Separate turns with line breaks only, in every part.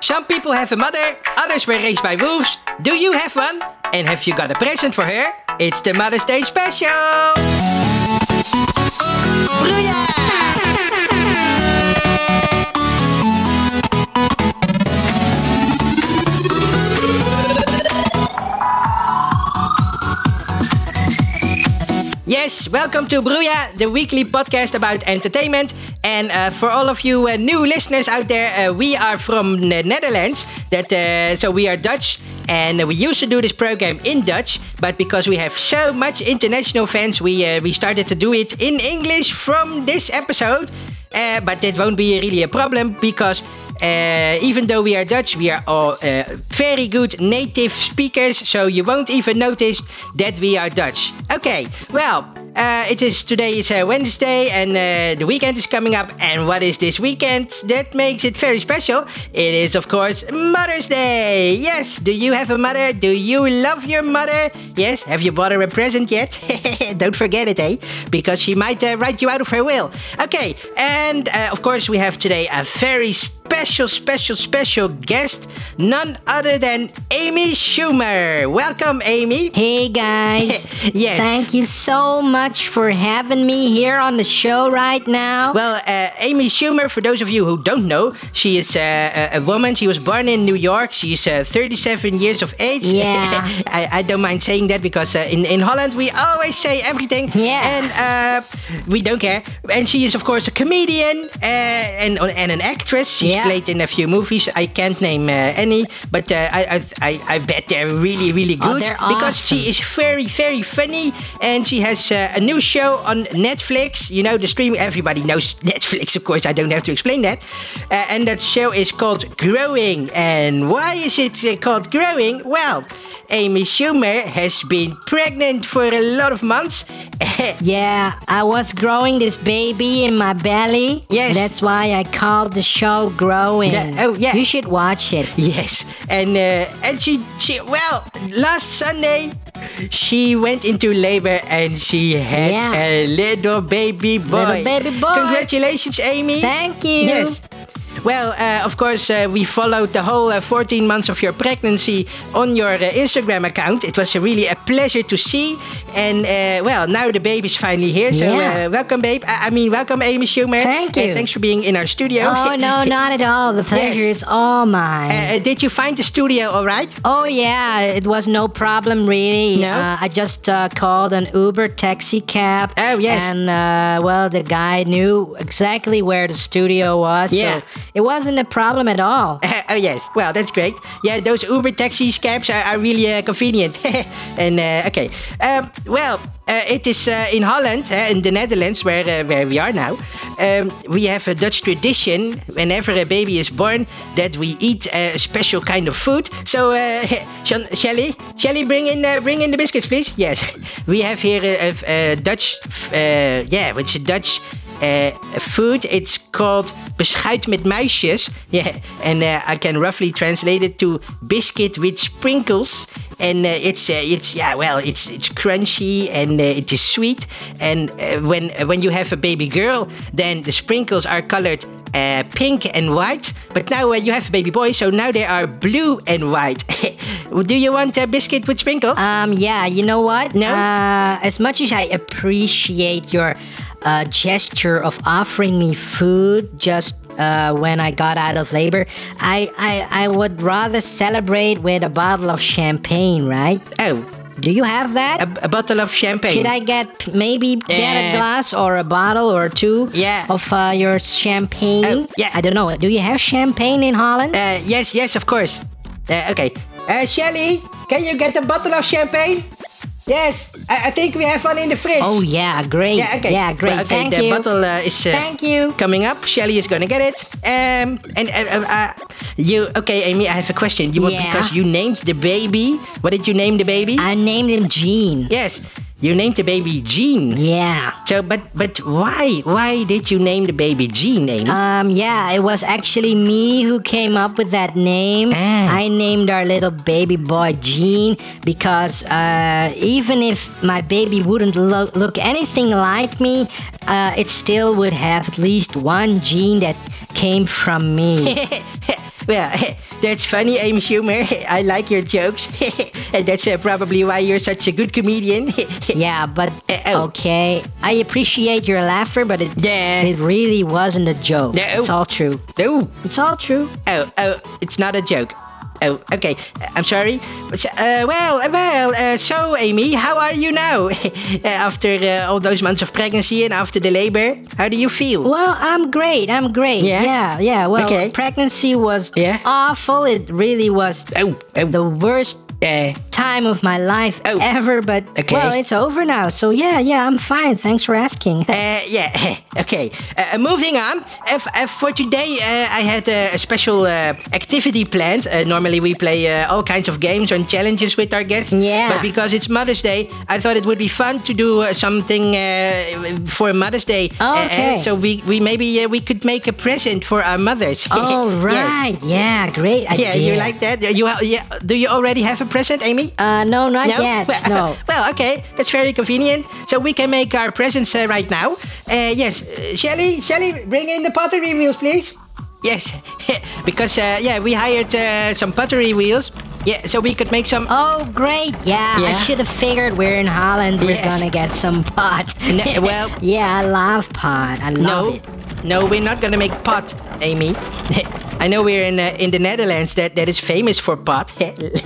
Some people have a mother, others were raised by wolves. Do you have one? And have you got a present for her? It's the Mother's Day special! Broeia! Yes, welcome to Bruja, the weekly podcast about entertainment. And uh, for all of you uh, new listeners out there, uh, we are from the Netherlands. That uh, so we are Dutch, and we used to do this program in Dutch. But because we have so much international fans, we uh, we started to do it in English from this episode. Uh, but that won't be really a problem because uh, even though we are Dutch, we are all uh, very good native speakers, so you won't even notice that we are Dutch. Okay, well, uh, it is today is uh, Wednesday, and uh, the weekend is coming up. And what is this weekend that makes it very special? It is, of course, Mother's Day. Yes, do you have a mother? Do you love your mother? Yes, have you bought her a present yet? Don't forget it, eh? Because she might uh, write you out of her will. Okay, and uh, of course, we have today a very special, special, special guest, none other than Amy Schumer. Welcome, Amy.
Hey guys.
Yes.
Thank you so much for having me here on the show right now.
Well, uh, Amy Schumer, for those of you who don't know, she is uh, a, a woman. She was born in New York. She's uh, 37 years of age.
Yeah.
I, I don't mind saying that because uh, in, in Holland we always say everything.
Yeah.
And uh, we don't care. And she is, of course, a comedian uh, and, and an actress. She's
Yeah.
played in a few movies. I can't name uh, any, but uh, I, I- I, I bet they're really, really
Oh,
good.
they're
Because
awesome.
she is very, very funny, and she has uh, a new show on Netflix. You know, the stream everybody knows Netflix, of course. I don't have to explain that. Uh, and that show is called Growing. And why is it uh, called Growing? Well, Amy Schumer has been pregnant for a lot of months. Eh,
yeah, I was growing this baby in my belly.
Yes.
That's why I called the show Growing.
Yeah, oh, yeah.
You should watch it.
Yes, and uh, and she she well last Sunday she went into labor and she had
Yeah.
a little baby boy.
Little baby boy.
Congratulations, Amy.
Thank you.
Yes. Well, uh, of course, uh, we followed the whole uh, 14 months of your pregnancy on your uh, Instagram account. It was really a pleasure to see. And uh, well, now the baby's finally here. So
Yeah.
uh, welcome, babe. I, I mean, welcome, Amy Schumer.
Thank
And
you.
thanks for being in our studio.
Oh no, not at all. The pleasure is all mine.
Uh, uh, did you find the studio all right?
Oh yeah, it was no problem really.
No?
Uh, I just uh, called an Uber taxi cab.
Oh, yes.
And uh, well, the guy knew exactly where the studio was.
Yeah.
So it wasn't a problem at all.
oh yes, well that's great. Yeah, those Uber taxi cabs are, are really uh, convenient. and uh, okay, um, well, uh, it is uh, in Holland, uh, in the Netherlands, where uh, where we are now. Um, we have a Dutch tradition whenever a baby is born that we eat a special kind of food. So, uh, Shan- Shelly, Shelly, bring in uh, bring in the biscuits, please. Yes, we have here a, a, a Dutch, uh, yeah, it's a Dutch uh, food. It's called beschuit met muisjes. Yeah, and uh, I can roughly translate it to biscuit with sprinkles. And uh, it's uh, it's yeah well it's it's crunchy and uh, it is sweet. And uh, when uh, when you have a baby girl, then the sprinkles are colored. Uh, pink and white, but now uh, you have a baby boy, so now they are blue and white. Do you want a biscuit with sprinkles?
Um, yeah, you know what?
No?
Uh, as much as I appreciate your uh, gesture of offering me food just uh, when I got out of labor, I, I, I would rather celebrate with a bottle of champagne, right?
oh,
Do you have that?
a, a bottle of champagne.
Should I get maybe get
Yeah.
a glass or a bottle or two
Eh. Yeah.
of uh, your champagne?
Oh, yeah.
I don't know. Do you have champagne in Holland?
Uh, yes, yes, of course. Uh, okay. Uh, Shelly, can you get a bottle of champagne? Yes, I, I think we have one in the fridge.
oh yeah, great.
Yeah, okay.
great.
Well, okay,
Thank
the
you.
bottle uh, is uh,
Thank you.
coming up. Shelly is gonna get it. Um, and uh, uh, uh, you, okay, Amy, I have a question. You
Yeah.
because you named the baby. What did you name the baby?
I named him Gene.
yes, you named the baby Jean.
Yeah.
So, but but why why did you name the baby Jean, Amy?
Um, yeah, it was actually me who came up with that name.
Ah.
I named our little baby boy Gene because uh, even if my baby wouldn't lo- look anything like me, uh, it still would have at least one gene that came from me.
well, That's funny, Amy Schumer. I like your jokes. and that's uh, probably why you're such a good comedian.
Yeah, but
Uh-oh.
okay. I appreciate your laughter, but it
Yeah.
it really wasn't a joke.
No.
It's all true.
oh,
It's all true.
oh, oh, it's not a joke. Oh, okay. Uh, I'm sorry. So- Uh, well, uh, well. Uh, so, Amy, how are you now? Uh, after uh, all those months of pregnancy and after the labor, how do you feel?
Well, I'm great. I'm great.
Yeah?
yeah. yeah. Well,
Okay.
pregnancy was
Yeah.
awful. It really was
Oh, oh,
the worst
uh,
time of my life
Oh.
ever. But
Okay.
well, it's over now. So yeah, yeah, I'm fine. Thanks for asking.
Uh, yeah, okay. Uh, moving on. Uh, f- uh, for today, uh, I had uh, a special uh, activity planned. Uh, normally, we play uh, all kinds of games and challenges with our guests.
Yeah.
But because it's Mother's Day, I thought it would be fun to do uh, something uh, for Mother's Day.
Oh,
Uh,
okay.
and so we, we maybe uh, we could make a present for our mothers.
all
Yes.
right. Yeah. Great idea.
Yeah, you like that? You ha- yeah. Do you already have a present, Amy?
Uh, no, not
No?
yet.
Well,
No.
well, okay, that's very convenient. So we can make our presents uh, right now. Uh, yes, uh, Shelly, Shelly, bring in the pottery wheels, please. Yes, because uh, yeah, we hired uh, some pottery wheels. Yeah, so we could make some.
Oh, great. Yeah, I
Yeah?
should have figured we're in Holland. We're
Yes.
gonna get some pot.
No, well-
yeah, I love pot. I love
no,
it.
no, we're not gonna make pot, Amy. I know we're in uh, in the Netherlands that, that is famous for pot,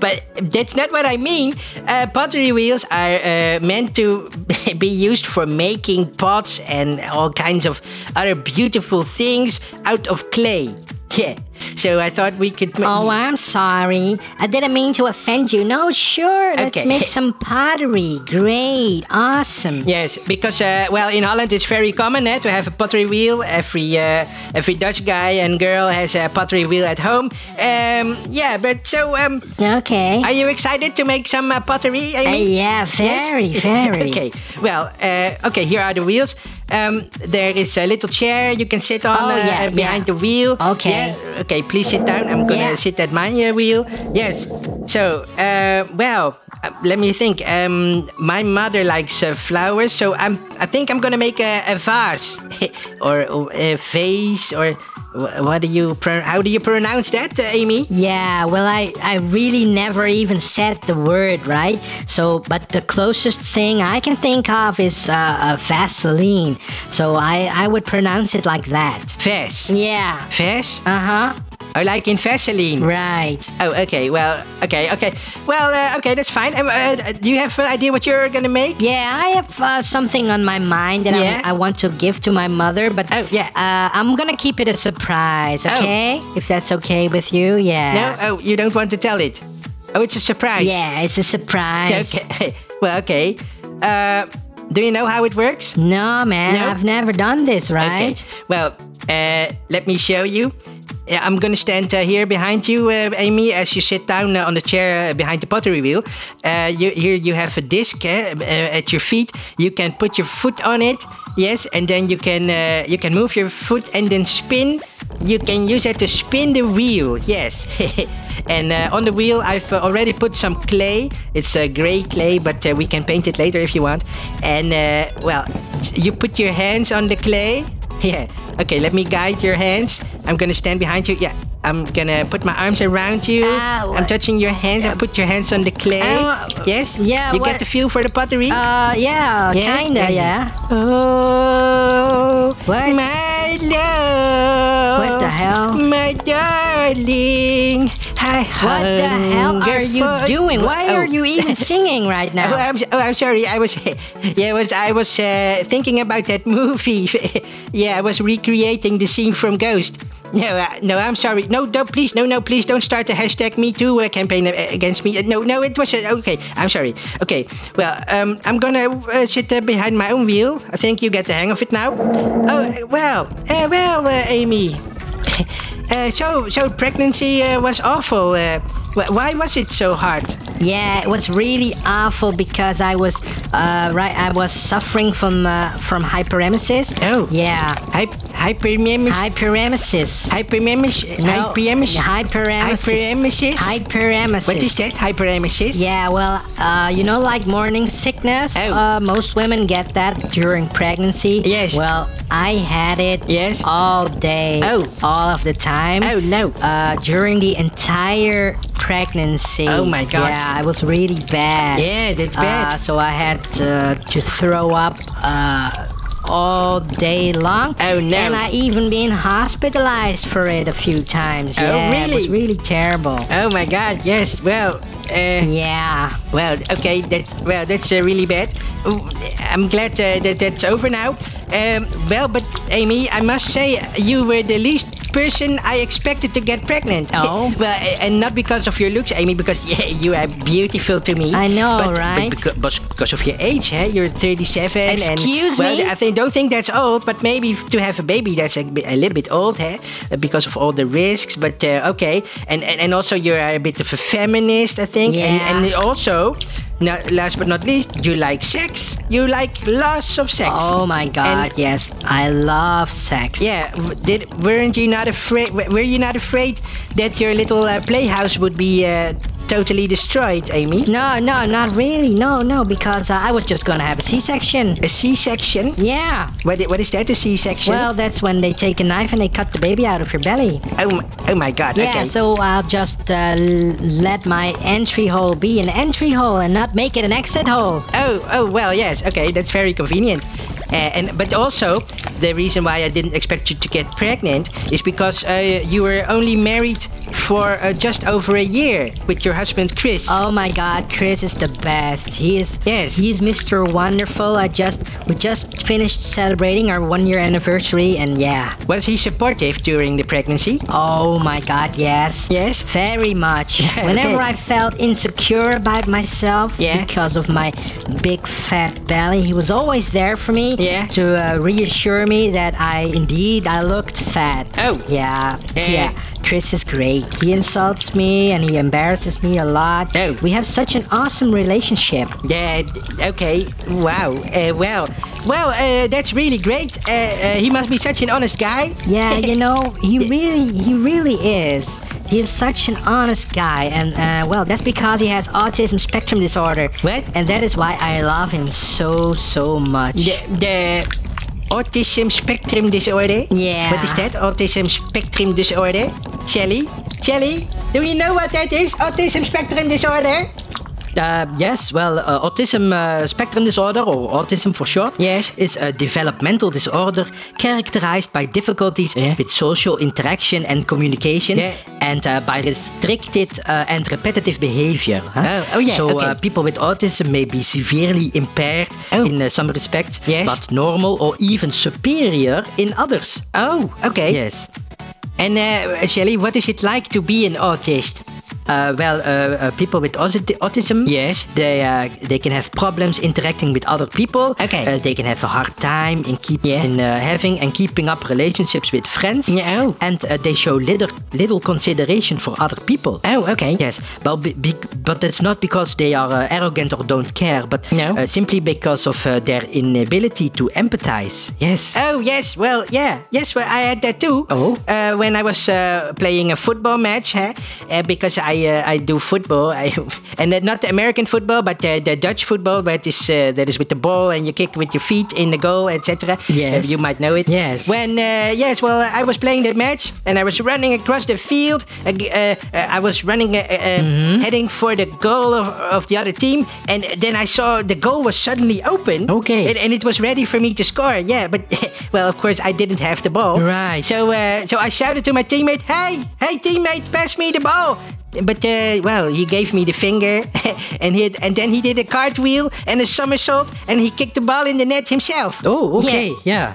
but that's not what I mean. Uh, pottery wheels are uh, meant to be used for making pots and all kinds of other beautiful things out of clay. Yeah. So I thought we could. ma-
Oh, I'm sorry. I didn't mean to offend you. No, sure. Let's
Okay.
make some pottery. Great. Awesome.
Yes, because uh, well, in Holland it's very common eh, to have a pottery wheel. Every uh, every Dutch guy and girl has a pottery wheel at home. Um, yeah, but so um,
Okay.
are you excited to make some uh, pottery,
Uh,
Amy?
yeah, very,
Yes?
very.
okay. Well, uh, okay. Here are the wheels. Um, there is a little chair you can sit on
Oh,
uh,
yeah,
uh, behind
yeah.
the wheel.
Okay.
Yeah, Okay. Please sit down. I'm gonna
Yeah.
sit at my uh, wheel. Yes. So, uh, well, uh, let me think. Um, my mother likes uh, flowers, so I'm. I think I'm gonna make a, a vase, or a vase, or wh- what do you? Pro- how do you pronounce that, uh, Amy?
Yeah, well, I, I really never even said the word, right? So, but the closest thing I can think of is uh, uh, Vaseline. So I, I would pronounce it like that.
Vase.
Yeah.
Vase.
Uh huh.
Oh, like in Vaseline.
Right.
Oh, okay. Well, okay, okay. Well, uh, okay, that's fine. Um, uh, do you have an idea what you're gonna make?
Yeah, I have uh, something on my mind that
Yeah?
I, I want to give to my mother, but
Oh, yeah.
uh, I'm gonna keep it a surprise,
Oh.
okay? If that's okay with you,
No.
yeah.
Oh, you don't want to tell it. Oh, it's a surprise.
Yeah, it's a surprise.
Okay. Well, okay. Uh, do you know how it works?
No, man,
No?
I've never done this, right?
Okay. Well, uh, let me show you. Yeah, I'm gonna stand uh, here behind you, uh, Amy, as you sit down uh, on the chair uh, behind the pottery wheel. Uh, you, here you have a disc eh, uh, at your feet. You can put your foot on it, yes, and then you can uh, you can move your foot and then spin. You can use it to spin the wheel, yes. and uh, on the wheel, I've uh, already put some clay. It's uh, gray clay, but uh, we can paint it later if you want. And uh, well, you put your hands on the clay. Yeah. Okay, let me guide your hands. I'm gonna stand behind you. Yeah. I'm gonna put my arms around you.
Ow.
I'm touching your hands. I put your hands on the clay.
Ow.
yes?
Um, Yeah,
You
what-
get the feel for the pottery?
Uh, yeah, kinda, yeah.
Oh,
What?
my love.
What the hell?
My darling. I
What the hell are you doing? Why are you even singing right
Oh,
now?
I'm, oh, I'm sorry. I was, yeah, I was, I was uh, thinking about that movie. yeah, I was recreating the scene from Ghost. No, uh, no, I'm sorry. No, no, please, no, no, please don't start the hashtag Me Too uh, campaign uh, against me. Uh, no, no, it was uh, okay. I'm sorry. Okay, well, um, I'm gonna uh, sit uh, behind my own wheel. I think you get the hang of it now. Oh uh, well, uh, well, uh, Amy. uh, so, so pregnancy uh, was awful. Uh, wh- why was it so hard?
Yeah, it was really awful because I was uh, right. I was suffering from uh, from hyperemesis.
Oh.
Yeah.
Hy- hypermemesis.
Hyperemesis.
Hypermemesis.
No,
Hypermemesis. Hyperemesis.
Hyperemesis. Hyperemesis.
What is that? Hyperemesis?
Yeah, well, uh, you know, like morning sickness.
Oh.
Uh, most women get that during pregnancy.
Yes.
Well, I had it.
Yes.
All day.
Oh.
All of the time.
Oh, no.
Uh, during the entire pregnancy.
Oh, my God.
Yeah, it was really bad.
Yeah, that's bad.
Uh, so I had to, to throw up. Uh, all day long.
Oh, no.
And I even been hospitalized for it a few times.
Oh,
yeah, It was
really?
really terrible.
Oh my God! Yes. Well. Uh,
Yeah.
well. Okay. That's well. That's uh, really bad. Ooh, I'm glad uh, that that's over now. Um, well, but Amy, I must say you were the least person I expected to get pregnant.
Oh.
well, a- and not because of your looks, Amy, because yeah, you are beautiful to me.
I know,
but,
right?
But becau- but because of your age, huh? You're 37. and-
Excuse
well,
me?
I think, don't think that's old, but maybe to have a baby that's a, bit- a little bit old, huh? Because of all the risks. But uh, okay, and, and and also you're a bit of a feminist, I think.
Yeah.
And, and also, no, last but not least, you like sex. You like lots of sex.
Oh my god,
And-
yes. I love sex.
Yeah, w- did weren't you not afraid? w- Were you not afraid that your little uh, playhouse would be uh, totally destroyed, Amy?
No, no, not really. No, no, because uh, I was just gonna have a C section.
A C-section?
Yeah.
What, i- what is that? A C-section?
Well, that's when they take a knife and they cut the baby out of your belly.
oh, my, oh my God.
Yeah,
okay.
so I'll just uh, l- let my entry hole be an entry hole and not make it an exit hole.
Oh, oh well, yes. Okay, that's very convenient. Uh, and but also the reason why I didn't expect you to get pregnant is because uh, you were only married for uh, just over a year with your husband Chris.
Oh my God, Chris is the best. He is.
Yes.
He's Mr. Wonderful. I just we just finished celebrating our one year anniversary, and yeah.
Was he supportive during the pregnancy?
Oh my god, yes.
Yes?
Very much.
Yeah,
Whenever
okay.
I felt insecure about myself
Yeah.
because of my big fat belly, he was always there for me
Yeah.
to uh, reassure me that I indeed I looked fat.
Oh.
Yeah.
Eh.
yeah. Chris is great. He insults me and he embarrasses me a lot.
Oh.
We have such an awesome relationship.
Yeah. Okay. Wow. Uh, well. Well. Uh, that's really great. Uh, uh, he must be such an honest guy.
Yeah, you know, he really, he really is. He is such an honest guy, and uh, well, that's because he has autism spectrum disorder.
What?
And that is why I love him so, so much.
The, the autism spectrum disorder.
Yeah.
What is that? Autism spectrum disorder? Shelly? Shelly? Do you know what that is? Autism spectrum disorder?
Uh, yes, well, uh, autism uh, spectrum disorder, or autism for short,
Yes.
is a developmental disorder characterized by difficulties
Yeah.
with social interaction and communication,
Yeah.
and uh, by restricted uh, and repetitive behavior. huh?
Oh, oh yeah,
So
okay.
uh, people with autism may be severely impaired
Oh.
in uh, some respects,
Yes.
but normal or even superior in others.
Oh, okay.
Yes.
And uh, Shelly, what is it like to be an autist?
Uh, well, uh, uh, people with ausi- autism,
Yes.
they uh, they can have problems interacting with other people.
Okay.
Uh, they can have a hard time in keep
Yeah.
in uh, having and keeping up relationships with friends.
Yeah, oh.
And uh, they show little little consideration for other people.
Oh, okay.
Yes, well, be, be, but that's not because they are uh, arrogant or don't care, but
No.
uh, simply because of uh, their inability to empathize. Yes.
Oh yes, well yeah, yes, well I had that too.
Oh.
uh, when I was uh, playing a football match, huh? uh, because I uh, I do football, I, and uh, not the American football, but uh, the Dutch football, but is uh, that is with the ball and you kick with your feet in the goal, etc.
Yes.
Uh, you might know it.
Yes.
When uh, yes, well I was playing that match and I was running across the field. Uh, uh, I was running, uh, uh,
Mm-hmm.
heading for the goal of, of the other team, and then I saw the goal was suddenly open.
Okay.
And- and it was ready for me to score. Yeah, but well, of course, I didn't have the ball.
Right.
So, uh, so I shouted to my teammate, "Hey, hey, teammate, pass me the ball." But uh, well, he gave me the finger, and he and then he did a cartwheel and a somersault, and he kicked the ball in the net himself.
Oh, okay. Yeah.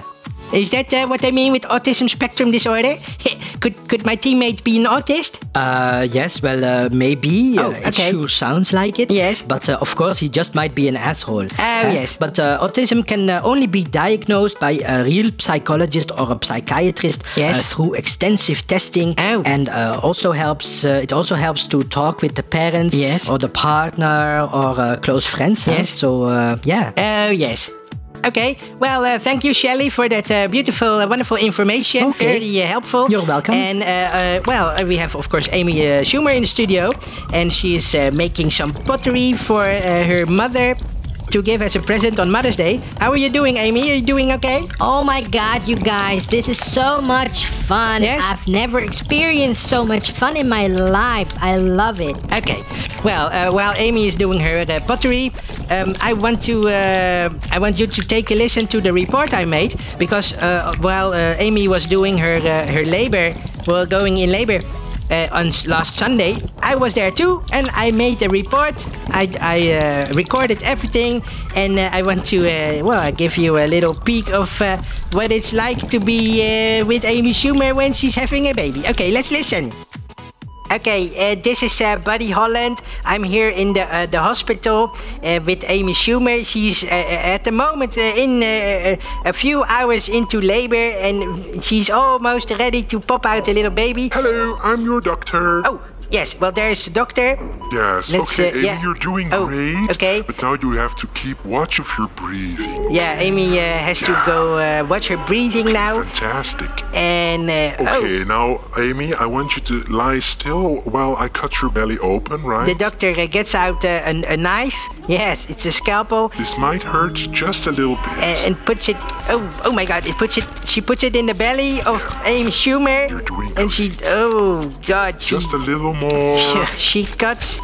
Is that uh, what I mean with autism spectrum disorder? could could my teammate be an autist?
Uh, yes, well, uh, maybe.
Oh,
uh,
okay.
It sure sounds like it.
Yes.
But uh, of course, he just might be an asshole.
Oh, yes.
But uh, autism can uh, only be diagnosed by a real psychologist or a psychiatrist
Yes.
uh, through extensive testing.
Oh.
And uh, also helps. Uh, it also helps to talk with the parents
Yes.
or the partner or uh, close friends. huh?
Yes.
So, uh, yeah.
Oh, yes. Okay. Well, uh, thank you, Shelley, for that uh, beautiful, uh, wonderful information.
Okay.
Very uh, helpful.
You're welcome.
And, uh, uh, well, uh, we have, of course, Amy uh, Schumer in the studio, and she is uh, making some pottery for uh, her mother to give as a present on Mother's Day. How are you doing, Amy? Are you doing okay?
Oh my god, you guys, this is so much fun.
Yes?
I've never experienced so much fun in my life. I love it.
Okay. Well, uh, while Amy is doing her uh, pottery, um, I want to uh, I want you to take a listen to the report I made because uh, while uh, Amy was doing her uh, her labor, well, going in labor. Uh, on s- last Sunday, I was there too, and I made a report. I, I uh, recorded everything, and uh, I want to uh, well give you a little peek of uh, what it's like to be uh, with Amy Schumer when she's having a baby. Okay, let's listen. Okay, uh, this is uh, Buddy Holland. I'm here in the uh, the hospital uh, with Amy Schumer. She's uh, uh, at the moment uh, in uh, uh, a few hours into labor, and she's almost ready to pop out a little baby.
Hello, I'm your doctor.
Oh, yes. Well, there's the doctor.
yes.
let's,
okay,
uh,
Amy,
yeah.
you're doing
Oh,
great.
okay.
But now you have to keep watch of your breathing.
Yeah, Amy uh, has to go uh, watch her breathing now.
Fantastic.
And uh, oh,
Okay, now, Amy, I want you to lie still while I cut your belly open, right?
the doctor uh, gets out uh, an, a knife. Yes, it's a scalpel.
this might hurt just a little bit.
and, and puts it. Oh, oh my God! It puts it. She puts it in the belly of Amy Schumer,
You're doing
and she. Oh God! She,
just a little more.
she cuts.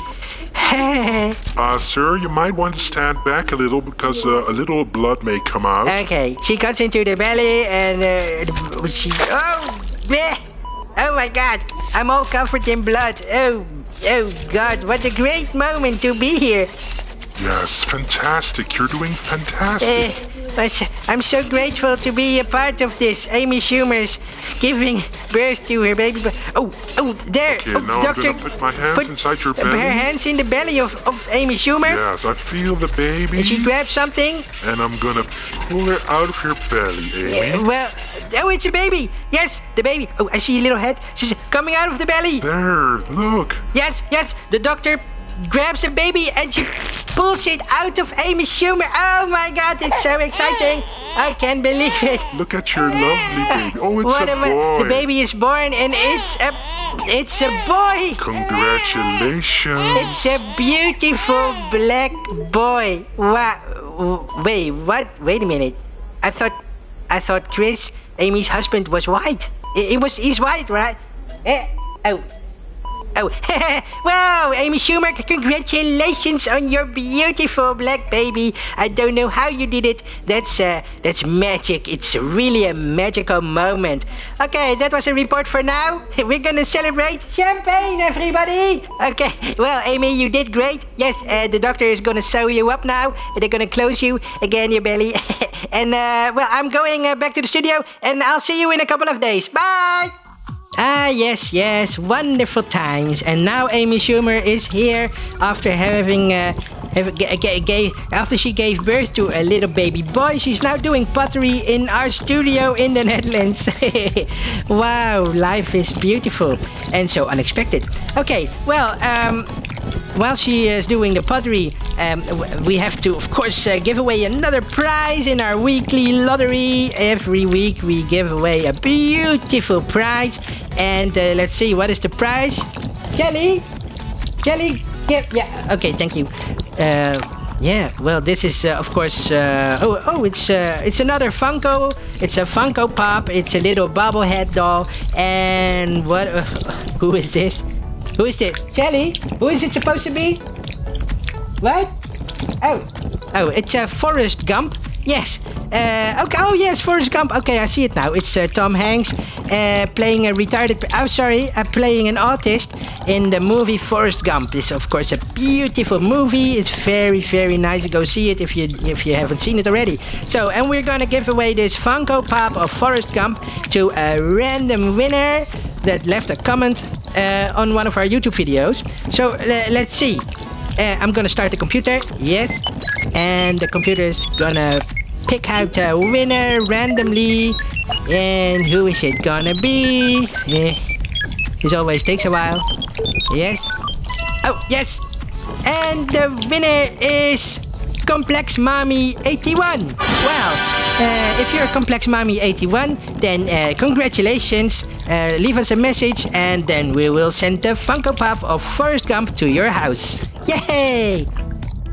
okay,
uh, sir, you might want to stand back a little because uh, a little blood may come out.
Uh. she cuts into the belly, and uh, she. Oh, bleh. oh my God! I'm all covered in blood. Oh, oh God! What a great moment to be here.
yes, fantastic. You're doing
Uh,
fantastic.
but I'm so grateful to be a part of this. Amy Schumer's giving birth to her baby. bu- Oh, oh, there.
Okay,
oh,
now I'm
doctor,
gonna put my hands inside your
Her
belly.
hands in the belly of, of Amy Schumer.
yes, I feel the baby.
And she grabs something.
and I'm gonna pull her out of your belly, eh? Amy.
Well, oh, it's a baby. Yes, the baby. Oh, I see a little head. She's coming out of the belly.
There, look.
Yes, yes. The doctor grabs the baby and she pulls it out of Amy Schumer. Oh my God, it's so exciting. I can't believe it.
Look at your lovely baby. Oh, it's
What
a
am I-
boy.
The baby is born and it's a it's a boy.
Congratulations.
It's a beautiful black boy. What? Wait, what? Wait a minute. I thought I thought Chris, Amy's husband, was white. It, it was he's white, right? Eh, oh. Oh, wow, Amy Schumer, congratulations on your beautiful black baby. I don't know how you did it. That's uh, that's magic. It's really a magical moment. Okay, that was a report for now. We're gonna celebrate champagne, everybody. Okay, well, Amy, you did great. Yes, uh, the doctor is gonna sew you up now. They're gonna close you again, your belly. and uh, well, I'm going uh, back to the studio, and I'll see you in a couple of days. Bye. Ah, yes, yes, wonderful times. And now Amy Schumer is here after having, uh, have, g- g- gave, after she gave birth to a little baby boy. She's now doing pottery in our studio in the Netherlands. wow, life is beautiful and so unexpected. Okay, well, um, while she is doing the pottery, um, w- we have to, of course, uh, give away another prize in our weekly lottery. Every week we give away a beautiful prize. And uh, let's see, what is the prize? Kelly? Kelly? Give, yeah, okay, thank you. Uh, yeah, well, this is, uh, of course, uh, oh, oh, it's uh, it's another Funko. It's a Funko Pop. It's a little bobblehead doll. And what, uh, who is this? Who is this? Sally? Who is it supposed to be? What? Oh. Oh, it's a Forrest uh, Gump. Yes. Uh, okay. Oh yes, Forrest Gump. Okay, I see it now. It's uh, Tom Hanks uh, playing a retarded. pe- Oh, sorry, uh, playing an artist in the movie Forrest Gump. It's of course a beautiful movie. It's very, very nice. Go see it if you if you haven't seen it already. So, and we're gonna give away this Funko Pop of Forrest Gump to a random winner that left a comment uh, on one of our YouTube videos. So le- let's see. Uh, I'm gonna start the computer. Yes, and the computer is gonna pick out a winner randomly. And who is it gonna be? Eh, this always takes a while. Yes. Oh, yes. And the winner is Complex Mommy 81. Wow. Uh, if you're Complex Mommy 81, then uh, congratulations. Uh, leave us a message and then we will send the Funko Pop of Forrest Gump to your house. Yay!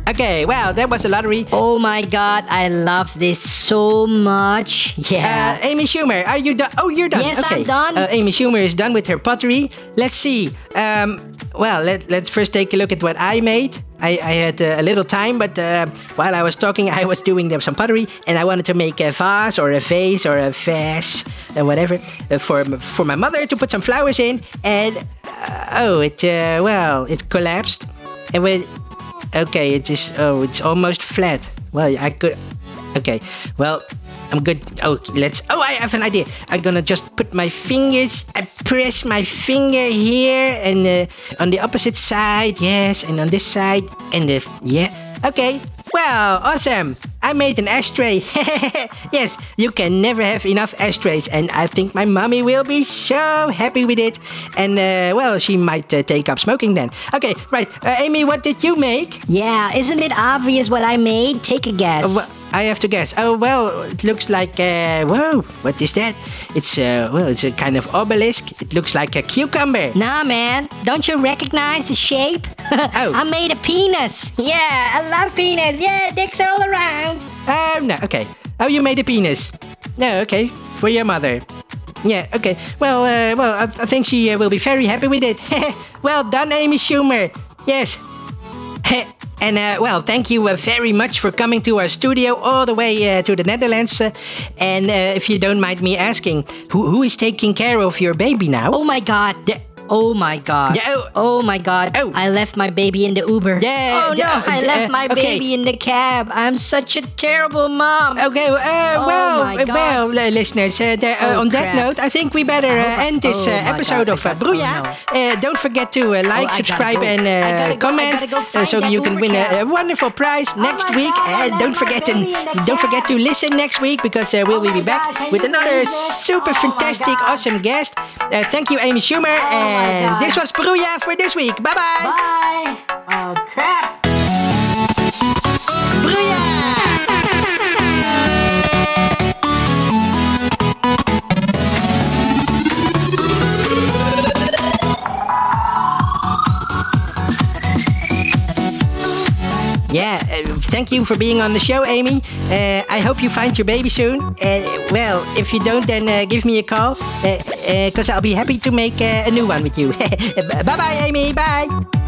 Okay, wow, that was a lottery.
Oh my god, I love this so much.
Uh,
Yeah.
Amy Schumer, are you done? Oh, you're done.
Yes,
okay.
I'm done.
Uh, Amy Schumer is done with her pottery. Let's see. Um, well, let, let's first take a look at what I made. I, I had uh, a little time, but uh, while I was talking, I was doing some pottery, and I wanted to make a vase or a vase or a vase and whatever uh, for for my mother to put some flowers in. And uh, oh, it uh, well, it collapsed. And when okay, it is oh, it's almost flat. Well, I could. Okay, well, I'm good. Oh, let's. Oh, I have an idea. I'm gonna just put my fingers. I press my finger here and uh, on the opposite side, yes, and on this side, and the yeah. Okay. Well, awesome. I made an ashtray. yes, you can never have enough ashtrays, and I think my mommy will be so happy with it. And uh, well, she might uh, take up smoking then. Okay, right. Uh, Amy, what did you make?
yeah, isn't it obvious what I made? Take a guess.
Well, I have to guess. Oh well, it looks like uh, whoa. What is that? It's uh, well, it's a kind of obelisk. It looks like a cucumber.
Nah, man. Don't you recognize the shape?
Oh.
I made a penis. Yeah, I love penis. Yeah, dicks are all around.
Oh no. Okay. Oh, you made a penis. No. Okay. For your mother. Yeah. Okay. Well, uh, well, I, I think she uh, will be very happy with it. well done, Amy Schumer. Yes. And uh, well, thank you uh, very much for coming to our studio all the way uh, to the Netherlands. Uh, and uh, if you don't mind me asking, who, who is taking care of your baby now?
Oh my god.
Yeah.
Oh my god.
Yeah, oh.
oh my god.
Oh.
I left my baby in the Uber.
Yeah,
Oh no,
yeah,
I
uh,
left my
okay.
baby in the cab. I'm such a terrible mom.
Okay, uh,
Oh
well,
my
uh,
God.
well, uh, listeners, uh, there- uh,
Oh,
on that
crap.
note, I think we better
I
uh,
hope I-
end this
oh
uh,
my
episode
God,
of uh,
I got- oh,
Bruja. uh, don't forget to uh, like,
gotta
subscribe,
go.
and
I
uh,
gotta go, I
comment
gotta go
uh, so
find
you
that
can
Uber
win a, a
cab.
wonderful prize
Oh
next
my
week.
God, I
And
left
don't
my
forget and
baby in the
don't
cab.
forget to listen next week because uh, we'll
Oh
be
my
back
God, can
with
you
another
believe this?
super
Oh my
fantastic,
God. Oh
awesome guest. Uh, thank you, Amy Schumer,
my
and
God.
this was Bruja for this week. Bye bye,
Bye. Oh crap.
Bruja. Yeah, uh, thank you for being on the show, Amy. Uh, I hope you find your baby soon. Uh, well, if you don't, then uh, give me a call because uh, uh 'cause I'll be happy to make uh, a new one with you. bye bye, Amy. Bye.